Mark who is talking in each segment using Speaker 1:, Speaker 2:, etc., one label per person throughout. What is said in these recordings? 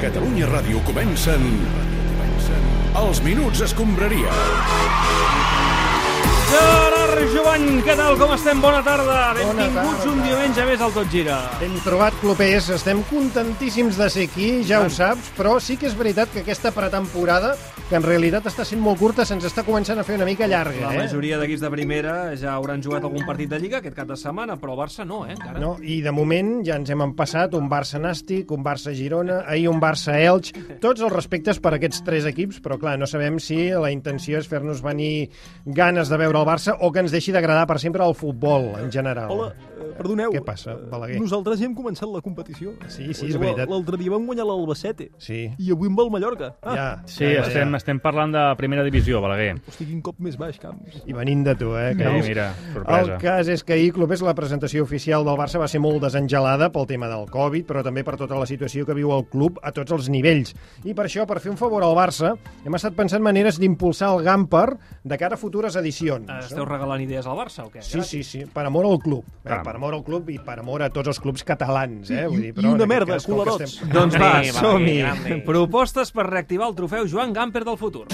Speaker 1: Catalunya Ràdio comencen... Els Minuts Escombraria.
Speaker 2: Gerard Jovany, què tal? Com estem? Bona tarda. Benvinguts
Speaker 3: tarda.
Speaker 2: un diumenge més al Tot Gira.
Speaker 3: Ben trobat, clubers. Estem contentíssims de ser aquí, ja ho saps, però sí que és veritat que aquesta pretemporada, que en realitat està sent molt curta, se'ns està començant a fer una mica llarga,
Speaker 2: La
Speaker 3: eh?
Speaker 2: majoria d'equips de primera ja hauran jugat algun partit de Lliga aquest cap de setmana, però el Barça no, eh, encara.
Speaker 3: No, I de moment ja ens hem empassat un Barça-Nàstic, un Barça-Girona, ahir un Barça-Elx, tots els respectes per aquests tres equips, però clar, no sabem si la intenció és fer-nos venir ganes de veure el Barça o que ens deixi d'agradar per sempre el futbol en general.
Speaker 4: Hola, eh, perdoneu.
Speaker 3: Què passa, Balaguer?
Speaker 4: Eh, Nosaltres ja hem començat la competició.
Speaker 3: Sí, sí, és
Speaker 4: L-
Speaker 3: veritat.
Speaker 4: L'altre dia vam guanyar l'Albacete
Speaker 3: Sí,
Speaker 4: i avui amb el Mallorca. Ah,
Speaker 3: ja.
Speaker 5: Ah. Sí, estem, estem parlant de primera divisió, Balaguer.
Speaker 4: Hosti, quin cop més baix, Camps.
Speaker 3: I venint de tu, eh?
Speaker 5: Eh,
Speaker 3: Creus?
Speaker 5: mira, sorpresa.
Speaker 3: El cas és que ahir, Clopés, la presentació oficial del Barça va ser molt desengelada pel tema del Covid, però també per tota la situació que viu el club a tots els nivells. I per això, per fer un favor al Barça, hem estat pensant maneres d'impulsar el Gamper de cara a futures edicions.
Speaker 4: Ah,
Speaker 2: Eh, Esteu regalant idees al Barça o què?
Speaker 3: Sí, sí, sí, per amor al club. Eh?
Speaker 5: Caram.
Speaker 3: Per amor al club i per amor a tots els clubs catalans. Eh?
Speaker 4: I- i una
Speaker 3: en aquest
Speaker 4: merda,
Speaker 3: cas, com que
Speaker 4: culerots.
Speaker 3: estem-
Speaker 2: Doncs va,
Speaker 6: Sí, va,
Speaker 2: som-hi.
Speaker 6: grande.
Speaker 2: Propostes per reactivar el trofeu Joan Gamper del futur.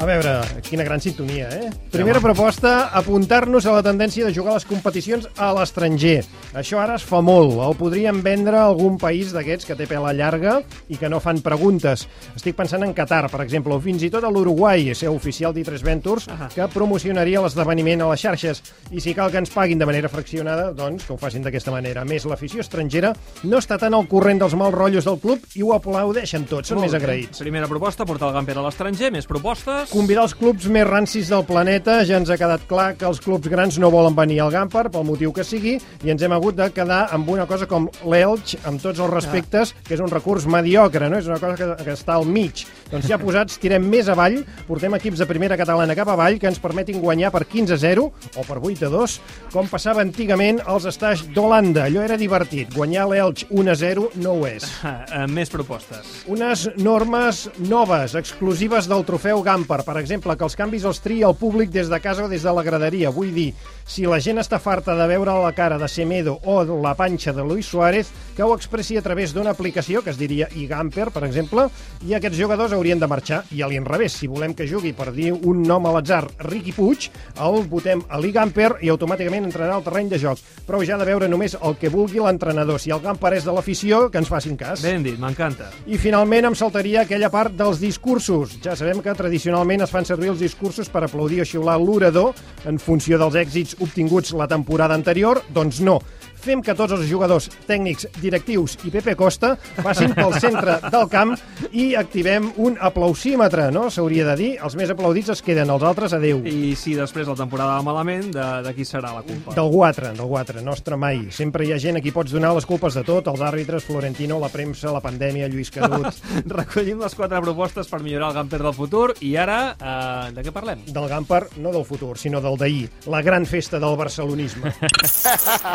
Speaker 3: A veure, quina gran sintonia, eh? Primera proposta, apuntar-nos a la tendència de jugar les competicions a l'estranger. Això ara es fa molt. El podríem vendre a algun país d'aquests que té pela llarga i que no fan preguntes. Estic pensant en Qatar, per exemple, o fins i tot a l'Uruguai, seu oficial d'I3 Ventures, que promocionaria l'esdeveniment a les xarxes. I si cal que ens paguin de manera fraccionada, doncs que ho facin d'aquesta manera. A més, l'afició estrangera no està tan al corrent dels mals rotllos del club i ho aplaudeixen tots, són
Speaker 2: bé.
Speaker 3: més agraïts.
Speaker 2: Primera proposta, portar el Gamper a l'estranger. Més propostes.
Speaker 3: Convidar els clubs més rancis del planeta, ja ens ha quedat clar que els clubs grans no volen venir al Gamper, pel motiu que sigui, i ens hem hagut de quedar amb una cosa com l'Elx, amb tots els respectes, que és un recurs mediocre, no? és una cosa que, que està al mig. Doncs ja posats, tirem més avall, portem equips de primera catalana cap avall que ens permetin guanyar per 15 a 0 o per 8 a 2, com passava antigament als estats d'Holanda. Allò era divertit, guanyar l'Elx 1 a 0 no ho és
Speaker 2: Eh, eh, Més propostes.
Speaker 3: unes normes noves, exclusives del trofeu Gamper. Per exemple, que els canvis els tria el públic des de casa o des de la graderia. Vull dir, si la gent està farta de veure la cara de Semedo o la panxa de Luis Suárez, que ho expressi a través d'una aplicació, que es diria iGamper, per exemple, i aquests jugadors haurien de marxar. I a l'inrevés, si volem que jugui per dir un nom a l'atzar, Ricky Puig, el votem a l'Igamper i automàticament entrarà al terreny de joc. Prou ja de veure només el que vulgui l'entrenador. Si el Gamper és de l'afició, que ens facin cas.
Speaker 2: Ben dit, m'encanta.
Speaker 3: I finalment em saltaria aquella part dels discursos. Ja sabem que tradicionalment es fan servir els discursos per aplaudir o xiular l'orador en funció dels èxits obtinguts la temporada anterior, doncs no. Fem que tots els jugadors, tècnics, directius i Pepe Costa passin pel centre del camp i activem un aplausímetre, no? S'hauria de dir. Els més aplaudits es queden, els altres adeu.
Speaker 2: I si després la temporada va malament, de, de qui serà la culpa?
Speaker 3: D'algú altre, d'algú altre, nostre mai. Sempre hi ha gent a qui pots donar les culpes de tot, els àrbitres, Florentino, la premsa, la pandèmia, Lluís Canut...
Speaker 2: Recollim les quatre propostes per millorar el Gamper del futur i ara, eh, de què parlem?
Speaker 3: del Gamper, no del futur, sinó del d'ahir, la gran festa del barcelonisme.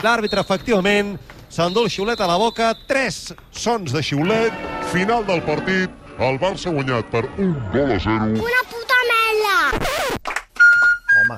Speaker 7: L'àrbitre, efectivament, s'endú el xiulet a la boca. 3.
Speaker 8: Sons de xiulet, final del partit, el Barça ha guanyat per un gol a zero.
Speaker 9: una puta merda!
Speaker 3: Home.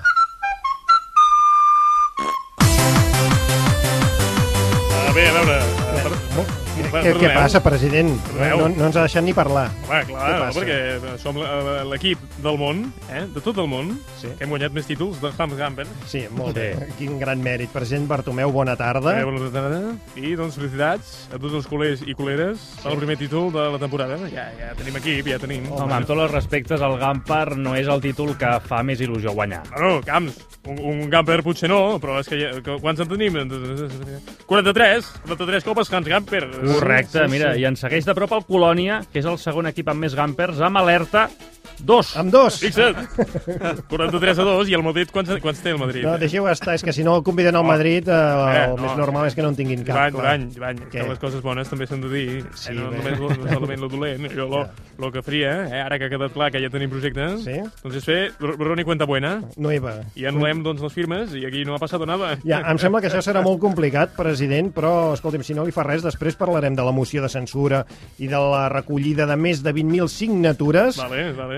Speaker 10: Ah, bé, a veure... eh, Per...
Speaker 3: Què, què passa, president? No,
Speaker 10: Perdoneu.
Speaker 3: no, no ens ha deixat ni parlar.
Speaker 10: Home, clar,
Speaker 3: Què
Speaker 10: no,
Speaker 3: passa?
Speaker 10: perquè som la- l'equip del món, eh? de tot el món,
Speaker 3: Sí.
Speaker 10: sí. que hem guanyat més títols de Hams Gamper.
Speaker 3: Sí, molt bé. Quin gran mèrit. President Bartomeu, bona tarda.
Speaker 10: Eh, bona tarda. I, doncs, felicitats a tots els culers i culeres per el primer títol de la temporada. Ja, ja tenim equip, ja tenim...
Speaker 3: Oh.
Speaker 5: Home, amb tots els respectes, el Gampar no és el títol que fa més il·lusió guanyar.
Speaker 10: Bueno, Camps, un, un Gamper potser no, però és que, ja, que quants en tenim? 43, 43 copes Hans Gamper.
Speaker 5: Correcte, mira, i en segueix de prop el Colònia, que és el segon equip amb més Gampers, amb alerta 2.
Speaker 3: Amb dos.
Speaker 10: Fixa't, 43 a 2, i el Madrid, quants, quants té el Madrid?
Speaker 3: No, deixeu estar, és que si no el conviden al Madrid, eh, el
Speaker 10: no.
Speaker 3: més normal és que no en tinguin cap.
Speaker 10: Ivany,
Speaker 3: clar.
Speaker 10: Ivany, Ivany, és
Speaker 3: Què?
Speaker 10: que les coses bones també s'han de dir,
Speaker 3: Sí,
Speaker 10: eh, no
Speaker 3: bé.
Speaker 10: només lo, no solament lo dolent, allò lo, lo que fria, eh, ara que ha quedat clar que ja tenim projectes,
Speaker 3: Sí.
Speaker 10: doncs és fer borrón i cuenta buena,
Speaker 3: No hi va.
Speaker 10: i anul·lem doncs, les firmes, i aquí no ha passat nada.
Speaker 3: Ja, em sembla que això serà molt complicat, president, però, escolti'm, si no li fa res, després parlarem parlarem de la moció de censura i de la recollida de més de 20.000 signatures.
Speaker 11: Vale, vale.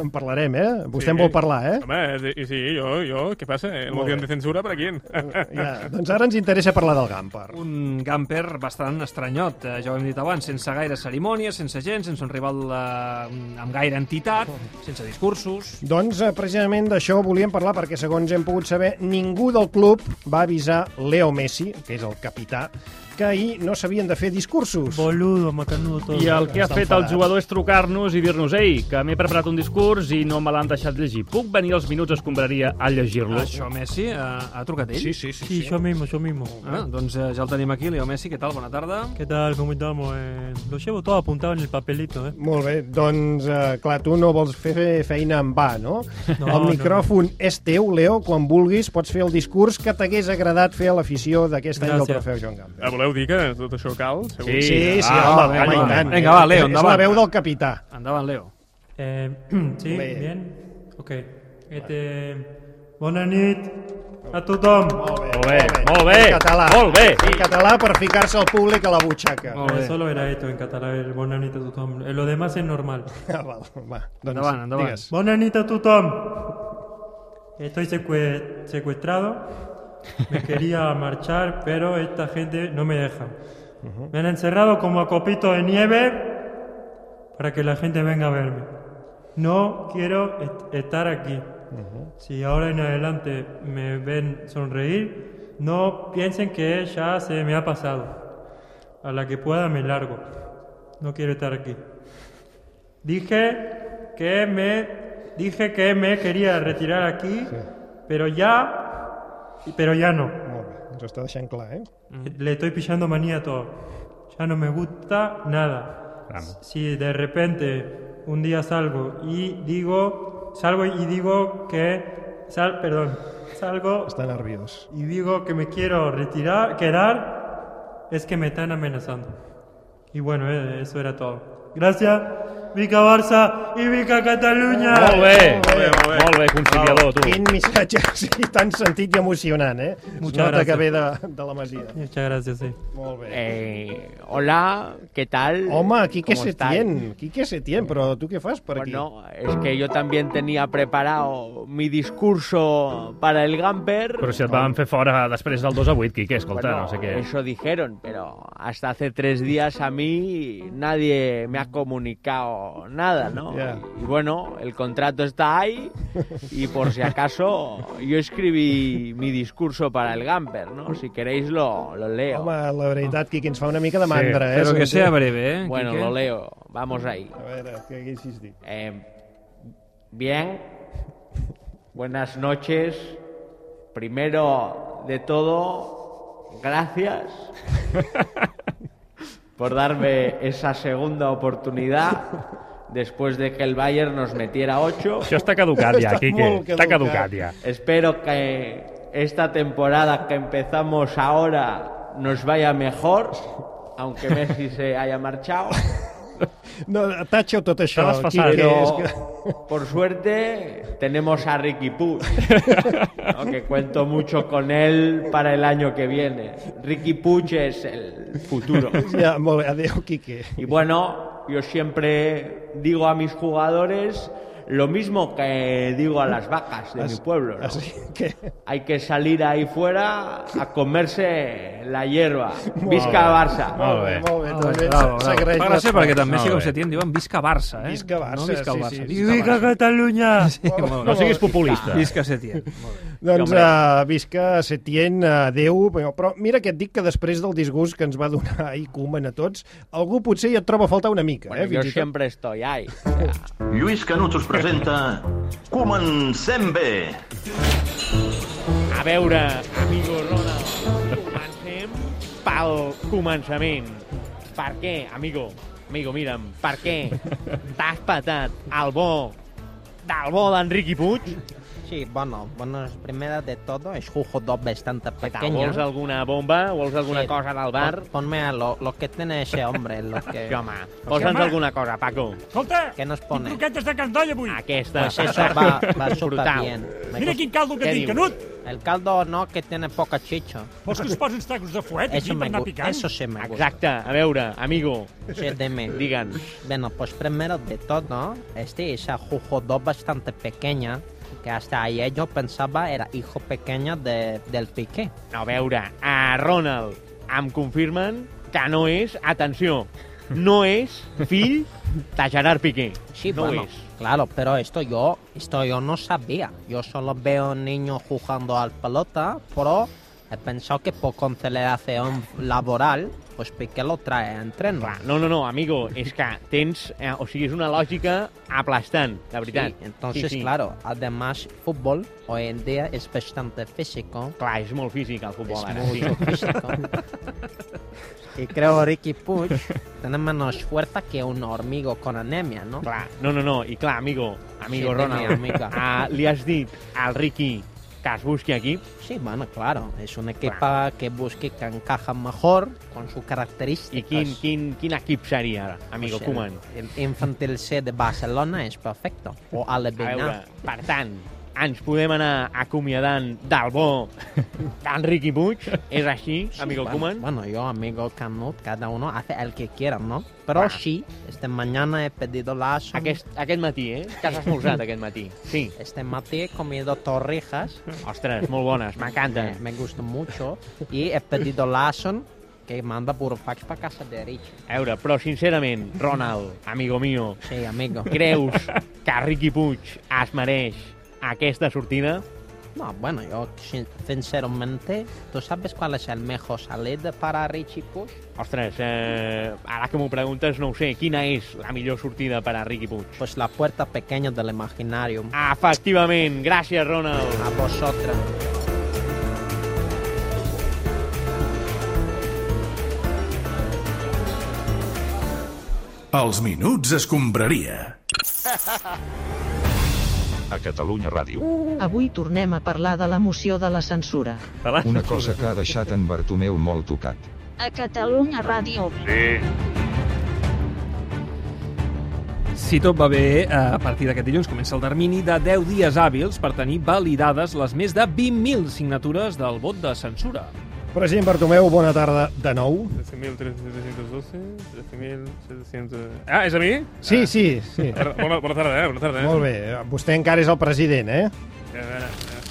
Speaker 3: En parlarem, eh? Vostè
Speaker 11: Sí.
Speaker 3: en vol parlar, eh?
Speaker 11: Home, sí, sí, jo, jo, què passa? El
Speaker 3: Molt
Speaker 11: motiu
Speaker 3: bé.
Speaker 11: de censura per a qui?
Speaker 3: Ja, doncs ara ens interessa parlar del Gamper.
Speaker 2: Un gamper bastant estranyot, eh, ja ho hem dit abans, sense gaire cerimònia, sense gent, sense un rival eh, amb gaire entitat, sense discursos...
Speaker 3: Doncs eh, precisament d'això volíem parlar perquè, segons hem pogut saber, ningú del club va avisar Leo Messi, que és el capità, que ahir no s'havien de fer discursos.
Speaker 12: Boludo, me canudo todo.
Speaker 5: I el que ha
Speaker 3: Està
Speaker 5: fet el
Speaker 3: enfadat.
Speaker 5: jugador és trucar-nos i dir-nos «Ei, que m'he preparat un discurs i no me l'han deixat llegir. Puc venir als minuts escombraria a
Speaker 11: Ah,
Speaker 5: llegir-lo?»
Speaker 2: Això, Messi, eh, ha trucat ell?
Speaker 13: sí, sí.
Speaker 12: Sí, yo mismo, yo mismo.
Speaker 2: Ah, doncs eh, ja el tenim aquí, Leo Messi, què tal? Bona tarda.
Speaker 12: ¿Qué tal? ¿Cómo estamos? Eh, lo llevo todo apuntado en el papelito, ¿eh?
Speaker 3: Molt bé, doncs, eh, clar, tu no vols fer fer feina en va, no?
Speaker 12: No,
Speaker 3: el
Speaker 12: no,
Speaker 3: micròfon és teu, Leo, quan vulguis pots fer el discurs que t'hagués agradat fer a l'afició d'aquest any del
Speaker 12: Gràcies.
Speaker 3: trofeu Joan Gamper.
Speaker 11: Ah, voleu dir que tot això cal? Segur.
Speaker 5: Sí.
Speaker 3: Sí, sí,
Speaker 5: Ah,
Speaker 3: home,
Speaker 5: va,
Speaker 3: home,
Speaker 5: va,
Speaker 3: i tant.
Speaker 2: Vinga, va, Leo,
Speaker 3: És la
Speaker 2: endavant.
Speaker 3: veu del capità.
Speaker 2: Endavant, Leo.
Speaker 12: Eh, sí,
Speaker 3: Bé.
Speaker 12: bien. Ok. Este... Bona nit a tothom.
Speaker 5: Molt bé, molt bé,
Speaker 3: En català.
Speaker 5: molt bé.
Speaker 3: En català per ficar-se al públic a la butxaca.
Speaker 2: Molt
Speaker 12: Eh,
Speaker 2: bé.
Speaker 12: solo era esto en catalán, el bona nit a tothom. Eh, lo demás es normal.
Speaker 3: Ah, val, va, doncs,
Speaker 2: Endavant, endavant.
Speaker 3: Digues.
Speaker 12: Bona nit a tothom. Estoy secue- secuestrado. Me quería marchar, pero esta gente no me deja. Me han encerrado como a copito de nieve para que la gente venga a verme. No quiero est- estar aquí. Si ahora en adelante me ven sonreír, no piensen que ya se me ha pasado. A la que pueda me largo. No quiero estar aquí. Dije que me dije que me quería retirar aquí, pero ya pero ya no.
Speaker 3: Molt bé, ens ho està deixant clar, eh?
Speaker 12: Le estoy pillando manía a todo. Ya no me gusta nada. Si de repente un día salgo y digo salgo y digo que sal, perdón, salgo
Speaker 3: Està nerviós.
Speaker 12: y digo que me quiero retirar, quedar, es que me están amenazando. Y bueno, eh, eso era todo. Gracias, Vica Barça y Vica Cataluña.
Speaker 5: Molt bé,
Speaker 11: Molt bé, molt bé.
Speaker 5: molt bé, conciliador, tu.
Speaker 3: Quin missatge sí, tan sentit i emocionant, eh? Es
Speaker 12: Moltes
Speaker 3: nota
Speaker 12: gràcies.
Speaker 3: que ve de, de la Masia.
Speaker 12: Muchas gracias, sí.
Speaker 3: Molt bé.
Speaker 14: Eh, hola, ¿qué tal?
Speaker 3: Home, Quique
Speaker 14: ¿Cómo estáis?
Speaker 3: Setién, Quique Setién, però tu què fas per aquí?
Speaker 14: Bueno, es que yo también tenía preparado mi discurso para el Gamper.
Speaker 5: Però si et van fer fora després del 2 a 8, Quique, escolta,
Speaker 14: Bueno,
Speaker 5: no sé què...
Speaker 11: eh,
Speaker 14: Eso dijeron, pero hasta hace tres días a mí nadie me ha comunicado nada, ¿no?
Speaker 3: Ya.
Speaker 14: Y bueno, el contrato está ahí y por si acaso yo escribí mi discurso para el Gamper, ¿no? Si queréis lo, lo leo.
Speaker 3: Home, la veritat, Quique, ens fa una mica de mandra, eh?
Speaker 2: Però que
Speaker 3: sentir-
Speaker 2: sea breve, eh,
Speaker 14: bueno,
Speaker 2: Quique?
Speaker 14: lo leo. Vamos ahí.
Speaker 3: A veure, què haguessis dit?
Speaker 14: Eh, bien, buenas noches. Primero de todo, gracias por darme esa segunda oportunidad después de que el Bayern nos metiera 8.
Speaker 5: Això està caducat ja,
Speaker 3: Està
Speaker 5: Quique.
Speaker 3: molt
Speaker 5: Està
Speaker 3: caducat.
Speaker 5: caducat ja.
Speaker 14: Espero que esta temporada que empezamos ahora nos vaya mejor, aunque Messi se haya marchado.
Speaker 3: No, tatxa tot això,
Speaker 5: Te l'has passat,
Speaker 3: Quique.
Speaker 14: Pero,
Speaker 3: És que...
Speaker 14: por suerte, tenemos a Ricky Puig, ¿no? que cuento mucho con él para el año que viene. Ricky Puig es el futuro.
Speaker 3: Ja, molt bé, adéu, Quique.
Speaker 14: Y bueno, yo siempre digo a mis jugadores lo mismo que digo a las vacas de mi pueblo. ¿no?
Speaker 3: Així que...
Speaker 14: Hay que salir ahí fuera a comerse la hierba. Visca Barça.
Speaker 5: Molt bé.
Speaker 3: Molt bé,
Speaker 2: Bravo,
Speaker 3: també
Speaker 2: bravo, bravo.
Speaker 3: s'agraeix.
Speaker 2: Fa gràcia
Speaker 3: l'esforç.
Speaker 2: perquè també, si
Speaker 5: Molt
Speaker 2: com
Speaker 5: bé.
Speaker 2: se tient, diuen visca Barça, eh?
Speaker 3: Visca Barça,
Speaker 2: no visca el
Speaker 3: sí,
Speaker 2: Barça,
Speaker 3: sí,
Speaker 2: visca
Speaker 3: sí.
Speaker 12: Vica Cataluña.
Speaker 2: Barça.
Speaker 5: No siguis populista.
Speaker 2: Visca Setién. Molt bé.
Speaker 3: Doncs
Speaker 14: Hombre.
Speaker 3: uh, visca Setién, adeu, però, però mira que et dic que després del disgust que ens va donar ahir Koeman a tots, algú potser ja et troba a faltar una mica,
Speaker 14: Bueno,
Speaker 3: eh?
Speaker 14: yo
Speaker 3: fins i tot.
Speaker 14: siempre estoy ahí.
Speaker 15: Lluís Canut us presenta Comencem bé!
Speaker 14: A veure, amigo Ronald, comencem pel començament. Per què, amigo? Amigo, mira'm, per què t'has patat el bo del bo d'Enriqui Puig
Speaker 12: Sí, bueno, bueno, primero de todo es jugo dos bastante pequeño.
Speaker 5: ¿Vols alguna bomba? ¿Vols alguna
Speaker 12: Sí.
Speaker 5: cosa del bar?
Speaker 12: Pon- Ponme a lo, lo que tiene ese hombre, lo que...
Speaker 5: Sí, home, posa'ns alguna cosa, Paco.
Speaker 16: Escolta,
Speaker 12: ¿Qué nos pone?
Speaker 16: croquetes de cardoll avui.
Speaker 14: Ah,
Speaker 5: Aquesta.
Speaker 12: Pues eso va, va súper
Speaker 5: Brutal.
Speaker 12: bien. Me
Speaker 16: Mira
Speaker 12: cost-
Speaker 16: quin caldo que tinc, Canut.
Speaker 12: El caldo no, que tiene poca chicha.
Speaker 16: Vols que us posi uns tacos de fuet
Speaker 12: Eso
Speaker 16: aquí per
Speaker 12: me
Speaker 16: anar
Speaker 12: gu-
Speaker 16: picant?
Speaker 12: eso sí me gusta.
Speaker 5: Exacte, a veure, amigo. doncs,
Speaker 12: Sí, dime.
Speaker 5: Digan.
Speaker 12: Bueno, pues primero de todo, este es a jugo dos bastante pequeña, que hasta ayer yo pensaba era hijo pequeño de, del Piqué.
Speaker 5: A veure, a Ronald em confirmen que no és, atenció, no és fill de Gerard Piqué.
Speaker 12: Sí,
Speaker 5: no ho
Speaker 12: bueno,
Speaker 5: és.
Speaker 12: claro, pero esto yo, esto yo no sabía. Yo solo veo niños jugando al pelota, pero he pensado que por conciliación laboral, pues Piqué lo trae a entreno.
Speaker 5: No, no, no, amigo, és que tens... Eh, o sigui, és una lògica aplastant, de veritat.
Speaker 12: Sí, entonces, claro, además, fútbol hoy en día es bastante físico.
Speaker 5: Clar, és molt físic el futbol,
Speaker 12: Es
Speaker 5: ara,
Speaker 12: mucho
Speaker 5: sí.
Speaker 12: físico. Y creo Ricky Puig tiene menos fuerza que un hormigo con anemia, ¿no?
Speaker 5: Claro. No, no, no, i clar, amigo, amigo
Speaker 12: Sí,
Speaker 5: Ronald,
Speaker 12: tenia, amiga.
Speaker 5: ah, li has dit al Ricky que es busqui equip?
Speaker 12: Sí, bueno, claro, es un equipo que busque que encaja mejor con sus características.
Speaker 5: I quin, quin, quin equip seria, amigo
Speaker 12: Pues el-
Speaker 5: Koeman?
Speaker 12: El, Infantil C de Barcelona es perfecto. O
Speaker 5: A veure,
Speaker 12: Aleviná.
Speaker 5: per tant, ens podem anar acomiadant del bo d'Enriqui Puig? És així, amigo
Speaker 12: bueno,
Speaker 5: Koeman?
Speaker 12: Bueno, yo, amigo Canut, cada uno hace el que quiera, ¿no? Pero
Speaker 5: Claro.
Speaker 12: sí, esta mañana he pedido la...
Speaker 5: Aquest, aquest matí, eh? Que has esmorzat aquest matí. Sí.
Speaker 12: Este matí he comido torrijas.
Speaker 5: Ostres, molt bones, m'encanten.
Speaker 12: Me, me gustan mucho. Y he pedido Lawson, que manda por fax para casa de Rich.
Speaker 5: A veure, però sincerament, Ronald, amigo mío,
Speaker 12: sí, amigo.
Speaker 5: creus que Riqui Puig es mereix aquesta sortida?
Speaker 12: No, bueno, yo sin- sinceramente, ¿tú sabes cuál es el mejor salida para Richie Push?
Speaker 5: Ostres, eh, ara que m'ho preguntes no ho sé. Quina és la millor sortida per a Riqui Puig?
Speaker 12: Pues la puerta pequeña del imaginario.
Speaker 5: Efectivament. Gràcies, Ronald.
Speaker 12: A vosaltres.
Speaker 17: Els Minuts Escombraria.
Speaker 1: A Catalunya Ràdio.
Speaker 18: Avui tornem a parlar de la moció de la censura.
Speaker 1: Una cosa que ha deixat en Bartomeu molt tocat.
Speaker 18: A Catalunya Ràdio.
Speaker 1: Sí.
Speaker 2: Si tot va bé, eh, a partir d'aquest dilluns comença el termini de 10 dies hàbils per tenir validades les més de 20.000 signatures del vot de censura.
Speaker 3: President Bartomeu, bona tarda de nou.
Speaker 19: 13.312, 13.700... Ah, és a mi?
Speaker 3: Sí, sí, sí.
Speaker 19: Bona, bona tarda, eh? Bona tarda, eh?
Speaker 3: Molt bé, vostè encara és el president, eh?
Speaker 19: A veure, eh,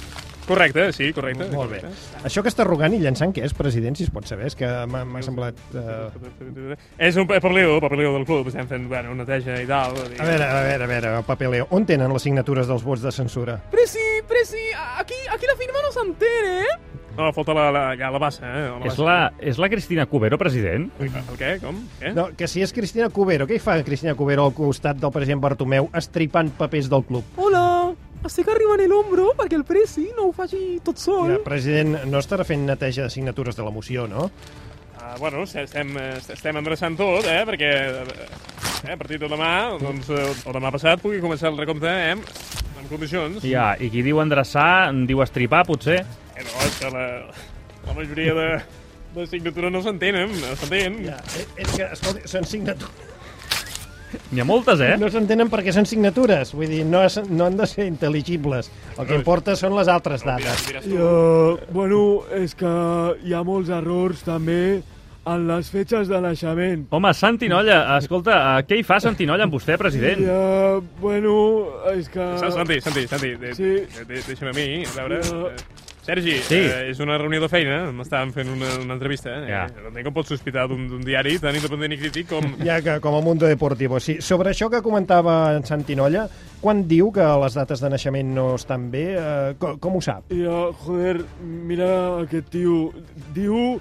Speaker 19: Correcte, sí, correcte. Molt bé.
Speaker 3: Això que està rogant i llançant què és, president, si es pot saber? És que m'ha m'ha semblat... eh,
Speaker 19: És un papeleo, papeleo del club, estem fent bueno, una neteja i tal.
Speaker 3: A veure, a veure, a veure, el paper Leo. On tenen les signatures dels vots de censura?
Speaker 20: Presi, Presi, aquí, aquí la firma no s'entén, eh?
Speaker 19: No, falta la, la, ja la bassa, eh? La
Speaker 21: És
Speaker 19: bassa.
Speaker 21: la, és la Cristina Cubero, president?
Speaker 19: El què? Com? Què?
Speaker 3: No, que si és Cristina Cubero, què hi fa Cristina Cubero al costat del president Bartomeu estripant papers del club?
Speaker 20: Hola, estic arribant a l'ombro perquè el Presi no ho faci tot sol.
Speaker 3: El president no estarà fent neteja de signatures de la moció, no?
Speaker 19: Ah, bueno, s- estem, eh, estem endreçant tot, eh? Perquè eh, a partir de demà, doncs, eh, o demà passat, pugui començar el recompte eh? amb- en condicions.
Speaker 21: Ja, i qui diu endreçar, en diu estripar, potser?
Speaker 19: Eh, no, és que la, la majoria de, de signatura no s'entenen, no s'entén.
Speaker 3: Ja, eh, és que, escolta, són signatures.
Speaker 21: N'hi ha moltes, eh?
Speaker 3: No s'entenen perquè són signatures, vull dir, no, es- no han de ser intel·ligibles. El que importa són les altres dades.
Speaker 20: Jo, bueno, és que hi ha molts errors també en les fetges de naixement.
Speaker 21: Home, Santinolla, escolta, eh, què hi fa Santinolla amb vostè, president?
Speaker 20: Ja, bueno, és que...
Speaker 19: Sa- Santi, Santi, Santi, de,
Speaker 20: Sí.
Speaker 19: de, de, deixa'm a mi, a veure...
Speaker 20: Ja.
Speaker 19: eh, Sergi,
Speaker 21: Sí.
Speaker 19: eh, és una reunió de feina, m'estàvem fent una, una entrevista. Eh?
Speaker 21: Ja.
Speaker 19: No entenc com pots sospitar d'un d'un diari tan independent i crític com...
Speaker 3: Ja que, com a Mundo Deportivo, sí. Sobre això que comentava en Santinolla, quan diu que les dates de naixement no estan bé, eh, com, com ho sap?
Speaker 20: Ja, joder, mira aquest tio. Diu...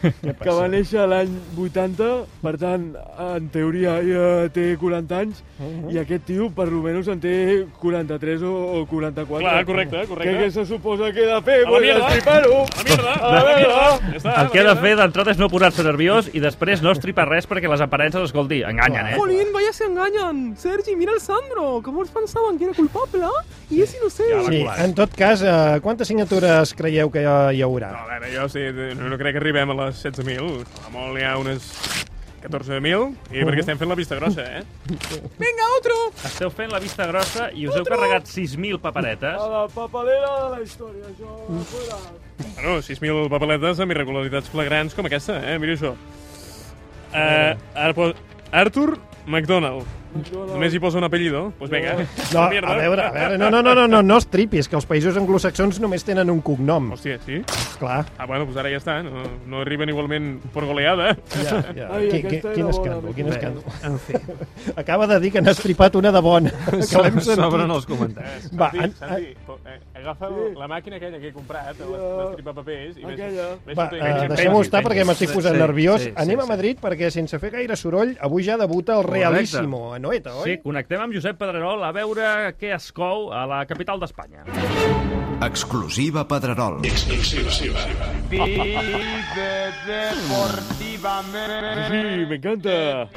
Speaker 12: que va néixer l'any 80, per tant, en teoria ja té 40 anys,
Speaker 2: Uh-huh.
Speaker 12: i aquest tio per lo menys en té 43 o, o 44.
Speaker 2: Clar, correcte, correcte.
Speaker 12: Què, què se suposa que he de
Speaker 2: A
Speaker 12: fer?
Speaker 2: la
Speaker 12: Pues
Speaker 2: mierda.
Speaker 12: Estripar-ho!
Speaker 2: A la mierda,
Speaker 12: A
Speaker 5: Ah,
Speaker 2: a la
Speaker 12: veure.
Speaker 2: mierda. Ja està,
Speaker 5: El que he de fer d'entrada és no posar-se nerviós i després no estripar res perquè les aparences, escolti, enganyen, eh?
Speaker 22: Jolín, vaya se engañan. Sergi, mira al Sandro, que molts pensaven que era culpable i és innocent.
Speaker 3: Sí, en tot cas, eh, quantes signatures creieu que hi haurà?
Speaker 2: A veure, jo sí, no, no crec que arribem a les 16.000. A la molt hi ha unes 14.000, i
Speaker 5: Mhm.
Speaker 2: perquè estem fent la vista grossa, eh?
Speaker 5: Vinga, otro! Esteu fent la vista grossa i us heu carregat 6.000 paperetes.
Speaker 12: A la papelera de la història, això. Fuera.
Speaker 2: Bueno, 6.000 papeletes amb irregularitats flagrants com aquesta, eh? Mira això. Uh, ara po- Arthur McDonald. Només hi posa un apellido. Doncs pues vinga.
Speaker 3: No, a veure, a veure, no, no, no, no, no, no estripis, que els països anglosaxons només tenen un cognom.
Speaker 2: Hòstia, sí?
Speaker 3: Clar.
Speaker 2: Ah, bueno, doncs ara ja està. No, no arriben igualment per goleada.
Speaker 3: Ja, ja. Ai, Qui- aquesta qui- era quin bona, escàndol, quin Miquel. escàndol.
Speaker 23: En fi.
Speaker 3: Acaba de dir que n'ha estripat una de bona. que
Speaker 23: Sobre-
Speaker 3: l'hem sentit.
Speaker 23: sobren els comentaris.
Speaker 3: Va,
Speaker 2: Santi,
Speaker 3: en,
Speaker 2: Santi, po- eh, agafa la màquina aquella que he comprat, l'estripa papers, i vés...
Speaker 12: Aquella.
Speaker 2: vés
Speaker 3: va,
Speaker 2: fotent-
Speaker 3: eh, deixem-ho estar perquè m'estic posant
Speaker 2: Sí, sí,
Speaker 3: nerviós.
Speaker 2: sí, sí,
Speaker 3: Anem a
Speaker 2: sí.
Speaker 3: Madrid perquè sense fer gaire soroll avui ja debuta el Realísimo a Noeta, oi?
Speaker 5: Sí, connectem amb Josep Pedrerol a veure què es cou a la capital d'Espanya.
Speaker 24: Exclusiva Pedrerol. Exclusiva.
Speaker 12: Sí, me encanta.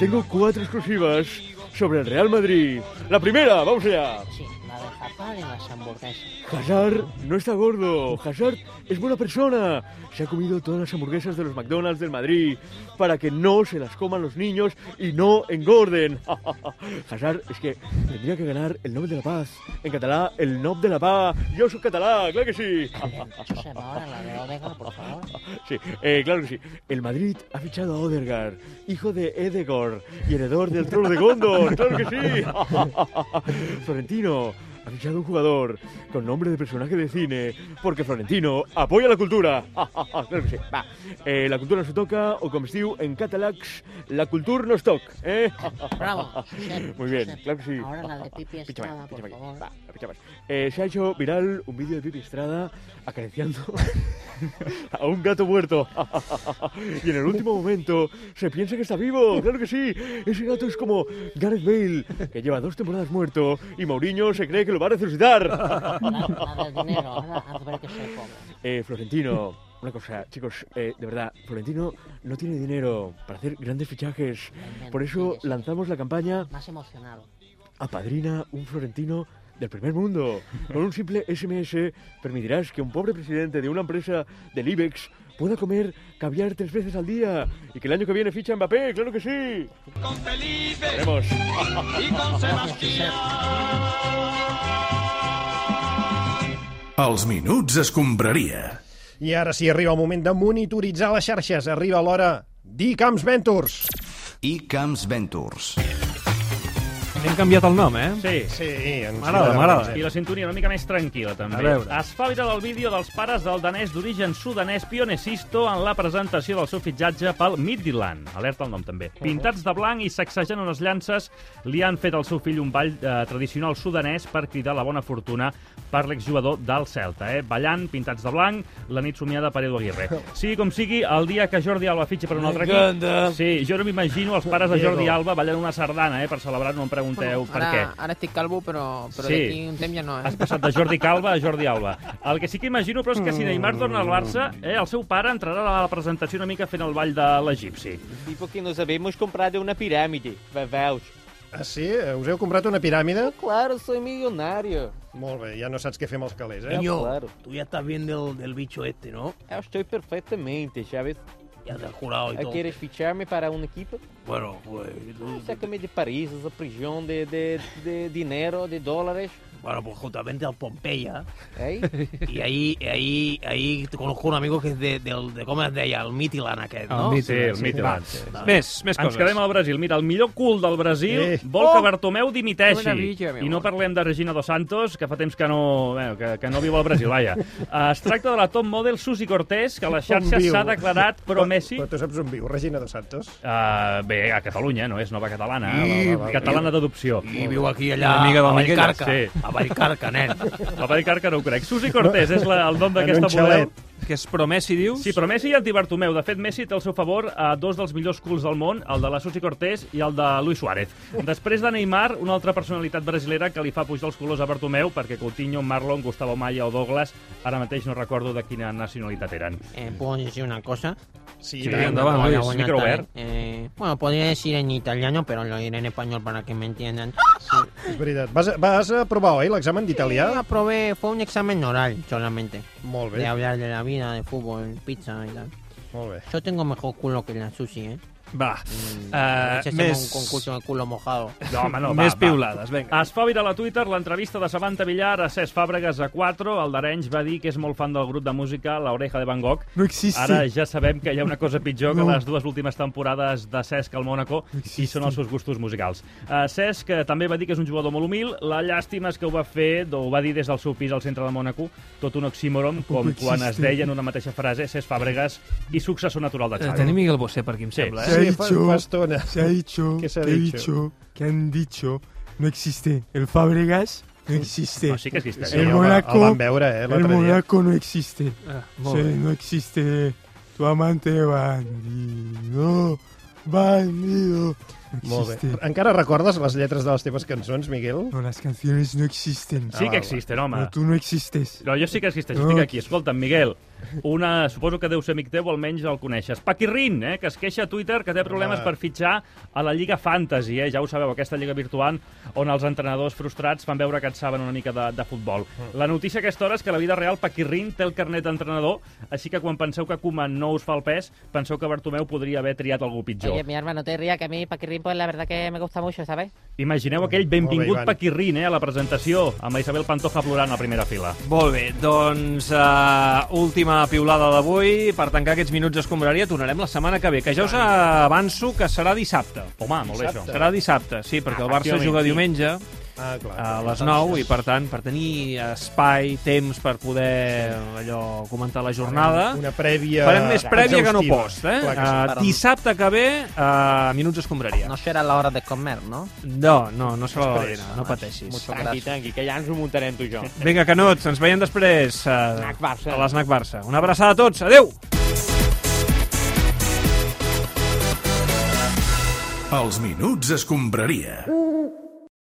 Speaker 12: Tengo cuatro exclusivas sobre el Real Madrid. La primera, vamos allá.
Speaker 25: La de Hazard en las hamburguesas.
Speaker 12: Hazard no está gordo. Hazard es buena persona. Se ha comido todas las hamburguesas de los McDonald's del Madrid para que no se las coman los niños y no engorden. Hazard es que tendría que ganar el Nobel de la Paz. En catalá, el Nobel de la Paz. Yo soy catalá, claro que sí.
Speaker 25: Josep, ahora la de Odega, por favor.
Speaker 12: Sí, eh, claro que sí. El Madrid ha fichado a Odegaard, hijo de Edegor y heredor del trono de Gondor. ¡Claro que sí! Florentino ha fichado un jugador con nombre de personaje de cine porque Florentino apoya la cultura. claro que sí. Va. Eh, la cultura no se toca o com es diu en catalax, la cultura no es toc. Eh?
Speaker 25: Bravo, Josep,
Speaker 12: Muy bien,
Speaker 25: Josep.
Speaker 12: claro que sí.
Speaker 25: Ahora la de Pipi
Speaker 12: Picha
Speaker 25: Estrada,
Speaker 12: más,
Speaker 25: por
Speaker 12: picha más.
Speaker 25: favor.
Speaker 12: Va, picha más. Eh, se ha hecho viral un vídeo de Pipi Estrada acariciando a un gato muerto. y en el último momento se piensa que está vivo, claro que sí. Ese gato es como Gareth Bale, que lleva dos temporadas muerto y Mourinho se cree que lo va a resucitar. Eh, Florentino, una cosa, chicos, eh, de verdad, Florentino no tiene dinero para hacer grandes fichajes. Por eso lanzamos la campaña
Speaker 25: Más emocionado.
Speaker 12: apadrina un florentino del primer mundo. Con un simple SMS permitirás que un pobre presidente de una empresa del IBEX pueda comer caviar tres veces al día y que el año que viene ficha Mbappé, claro que sí. Con Felipe.
Speaker 26: y con Sebastián.
Speaker 1: Els minuts escombraria.
Speaker 3: I ara sí arriba el moment de monitoritzar les xarxes. Arriba l'hora d'e-Camps Ventures.
Speaker 24: I Camps Ventures.
Speaker 23: Hem canviat el nom, eh?
Speaker 5: Sí.
Speaker 3: Sí, ens eh?
Speaker 23: M'agrada, m'agrada.
Speaker 5: I la sintonia una mica més tranquil·la, també.
Speaker 23: A veure.
Speaker 5: Es fa viral el vídeo dels pares del danès d'origen sudanès Pionesisto en la presentació del seu fitxatge pel Midland. Alerta el nom, també. Pintats de blanc i sacsejant unes llances, li han fet al seu fill un ball eh, tradicional sudanès per cridar la bona fortuna per l'exjugador del Celta. Eh? Ballant, pintats de blanc, la nit somiada per Edu Aguirre. Sigui com sigui, el dia que Jordi Alba fitxa per un altre equip...
Speaker 27: M'encanta.
Speaker 5: Sí, jo no m'imagino els pares de Jordi Alba ballant una sardana eh, per celebrar, no em pregunteu per
Speaker 22: ara,
Speaker 5: què.
Speaker 22: ara estic calvo, però, però
Speaker 5: Sí.
Speaker 22: d'aquí un temps ja no, eh?
Speaker 5: Has passat de Jordi Calva a Jordi Alba. El que sí que imagino, però, és que si Neymar torna al Barça, eh, el seu pare entrarà a la presentació una mica fent el ball de l'egipci.
Speaker 27: Tipo que nos habíamos comprado una pirâmide, veus.
Speaker 3: Ah, sí? Eh, Us heu comprat una piràmide?
Speaker 27: Ah, Claro, soy millonario.
Speaker 3: Molt bé, ja no saps què fer amb els calés, eh?
Speaker 27: Niño, Claro.
Speaker 3: tu ja estàs bien del, del bicho este, no?
Speaker 27: Eu Ah, estoy perfectamente, ¿sabes?
Speaker 20: Ya te has curado y todo.
Speaker 27: ¿Quieres ficharme para un equipo? Ah,
Speaker 20: Bueno, pues, tú-
Speaker 27: Sácame de París, esa prisión de, de, de dinero, de dólares.
Speaker 20: bueno, pues justamente al Pompeya.
Speaker 27: ¿Eh?
Speaker 20: Y ahí, ahí, ahí te conozco un amigo que es de, del- de ¿cómo es de allá? El Mitilan aquel,
Speaker 5: El
Speaker 20: ¿no?
Speaker 5: Midland, Sí, el sí. Midland.
Speaker 20: Va.
Speaker 5: Més, més Ens coses. quedem al Brasil. Mira, el millor cul del Brasil
Speaker 20: Eh.
Speaker 5: eh. vol
Speaker 20: Oh!
Speaker 5: que Bartomeu dimiteixi.
Speaker 20: Qué maravilla, mi
Speaker 5: I no parlem de Regina Dos Santos, que fa temps que no, bueno, que, que no viu al Brasil, vaja. Eh, Es tracta de la top model Susi Cortés, que a les xarxes s'ha declarat pro Messi.
Speaker 3: Però tu saps on viu, Regina Dos Santos?
Speaker 5: Uh, bé, a Catalunya, no és nova catalana,
Speaker 3: I-
Speaker 5: I, la, la, catalana d'adopció. I
Speaker 20: viu aquí, allà, a Vallcarca.
Speaker 5: Sí.
Speaker 20: A Vallcarca, nen.
Speaker 5: A Vallcarca no ho crec. Susi Cortés és la, el nom
Speaker 20: En
Speaker 5: d'aquesta
Speaker 20: un
Speaker 5: model.
Speaker 20: xalet.
Speaker 2: que és pro Messi, dius?
Speaker 5: Sí, però Messi i anti-Bartomeu. De fet, Messi té al seu favor a dos dels millors culs del món, el de la Susi Cortés i el de Luis Suárez. Després de Neymar, una altra personalitat brasilera que li fa pujar els colors a Bartomeu perquè Coutinho, Marlon, Gustavo Maia o Douglas, ara mateix no recordo de quina nacionalitat eren.
Speaker 12: Eh, ¿Puedo decir una cosa?
Speaker 5: Sí, Sí, endavant,
Speaker 12: Hola,
Speaker 5: Luis.
Speaker 12: buenas
Speaker 5: Micro
Speaker 12: tardes.
Speaker 5: obert.
Speaker 12: Eh, bueno, podría decir en italiano, pero lo diré en español para que me entiendan.
Speaker 3: És veritat. Vas, vas aprovar, oi, l'examen d'italià?
Speaker 12: Sí, aprobé. Fue un examen oral solamente.
Speaker 3: Molt bé.
Speaker 12: De hablar de la vida, de fútbol, pizza y tal. Yo tengo mejor culo que la sushi, ¿eh?
Speaker 2: Va.
Speaker 12: A ver si
Speaker 5: Eh,
Speaker 12: hacemos
Speaker 5: més-
Speaker 12: un concurso de culo mojado.
Speaker 5: No, home, no, va,
Speaker 2: Més
Speaker 5: va.
Speaker 2: piulades, vinga.
Speaker 5: Es fa viral a Twitter l'entrevista de Samantha Villar a Cesc Fàbregas a 4. El d'Arenys va dir que és molt fan del grup de música La Oreja de Van Gogh.
Speaker 28: No existe.
Speaker 5: Ara ja sabem que hi ha una cosa pitjor que
Speaker 28: No.
Speaker 5: les dues últimes temporades de Cesc al Mónaco i són els seus gustos musicals. Uh, Cesc eh, també va dir que és un jugador molt humil. La llàstima és que ho va fer, o ho va dir des del seu pis al centre de Mónaco, tot un oxímoron, com
Speaker 2: existe.
Speaker 5: quan es deia en una mateixa frase Cesc Fàbregas i successor natural de
Speaker 2: Eh,
Speaker 5: Xavi.
Speaker 2: tenim Miguel Bosé per aquí, em sembla, eh?
Speaker 5: Ah, Sí.
Speaker 3: Sí, fa- fa estona.
Speaker 28: Se ha dicho,
Speaker 3: ¿Qué se ha
Speaker 28: te he
Speaker 3: dicho?
Speaker 28: dicho que han dicho, no existe. El Fábregas no existe.
Speaker 5: No, sí que existe. Sí,
Speaker 28: El
Speaker 5: el
Speaker 28: Mónaco,
Speaker 5: va- el van veure, eh, l'altre
Speaker 28: el
Speaker 5: dia.
Speaker 28: Mónaco no existe.
Speaker 2: Ah, molt
Speaker 28: sí,
Speaker 2: bé.
Speaker 28: no existe. Tu amante bandido, bandido. No
Speaker 3: Molt
Speaker 28: existe.
Speaker 3: bé. Encara recordes les lletres de les teves cançons, Miguel?
Speaker 28: No, las canciones no existen.
Speaker 5: Sí que existen, home.
Speaker 28: Pero tú no existes.
Speaker 5: No, jo sí que existeix,
Speaker 28: No.
Speaker 5: estic aquí. Escolta'm, Miguel, una, suposo que deu ser amic teu, o almenys el coneixes. Paquirrin, eh, que es queixa a Twitter que té problemes
Speaker 2: Home.
Speaker 5: per fitxar a la Lliga Fantasy, eh? ja ho sabeu, aquesta lliga virtual on els entrenadors frustrats fan veure que et saben una mica de, de futbol.
Speaker 2: Mm.
Speaker 5: La notícia a aquesta hora és que a la vida real Paquirrin té el carnet d'entrenador, així que quan penseu que Koeman no us fa el pes, penseu que Bartomeu podria haber triat algú pitjor.
Speaker 29: Oye, mi arma, no te rías, que a mí Paquirrín, pues la verdad que me gusta mucho, ¿sabes?
Speaker 5: Imagineu aquell benvingut
Speaker 2: Ivan.
Speaker 5: Paquirrin eh, a la presentació, amb la Isabel Pantoja plorant a primera fila.
Speaker 2: Molt bé, doncs uh, última piulada d'avui. Per tancar aquests minuts d'escombraria tornarem la setmana que ve, que ja us avanço que serà dissabte.
Speaker 5: Home, molt bé, això.
Speaker 2: Serà dissabte, sí, perquè el Barça
Speaker 5: Efectivament,
Speaker 2: juga
Speaker 5: sí.
Speaker 2: diumenge
Speaker 5: Ah, clar,
Speaker 2: a
Speaker 5: clar.
Speaker 2: les 9 i, per tant, per tenir espai, temps per poder allò comentar la jornada...
Speaker 3: Una prèvia
Speaker 2: Farem més prèvia que no
Speaker 3: exhaustiva.
Speaker 2: post, eh?
Speaker 3: Clar que sí.
Speaker 2: Uh, dissabte que ve, uh, minuts escombraria.
Speaker 12: No será la hora de comer, ¿no?
Speaker 2: No, no, no serà la
Speaker 12: Després.
Speaker 2: dinar, no pateixis.
Speaker 30: Tranqui, tranqui, que ja ens ho muntarem tu i jo.
Speaker 2: Vinga, Canuts, ens veiem després eh,
Speaker 30: Barça.
Speaker 2: a l'Snac Barça. Una abraçada a tots, adeu!
Speaker 1: Els minuts escombraria.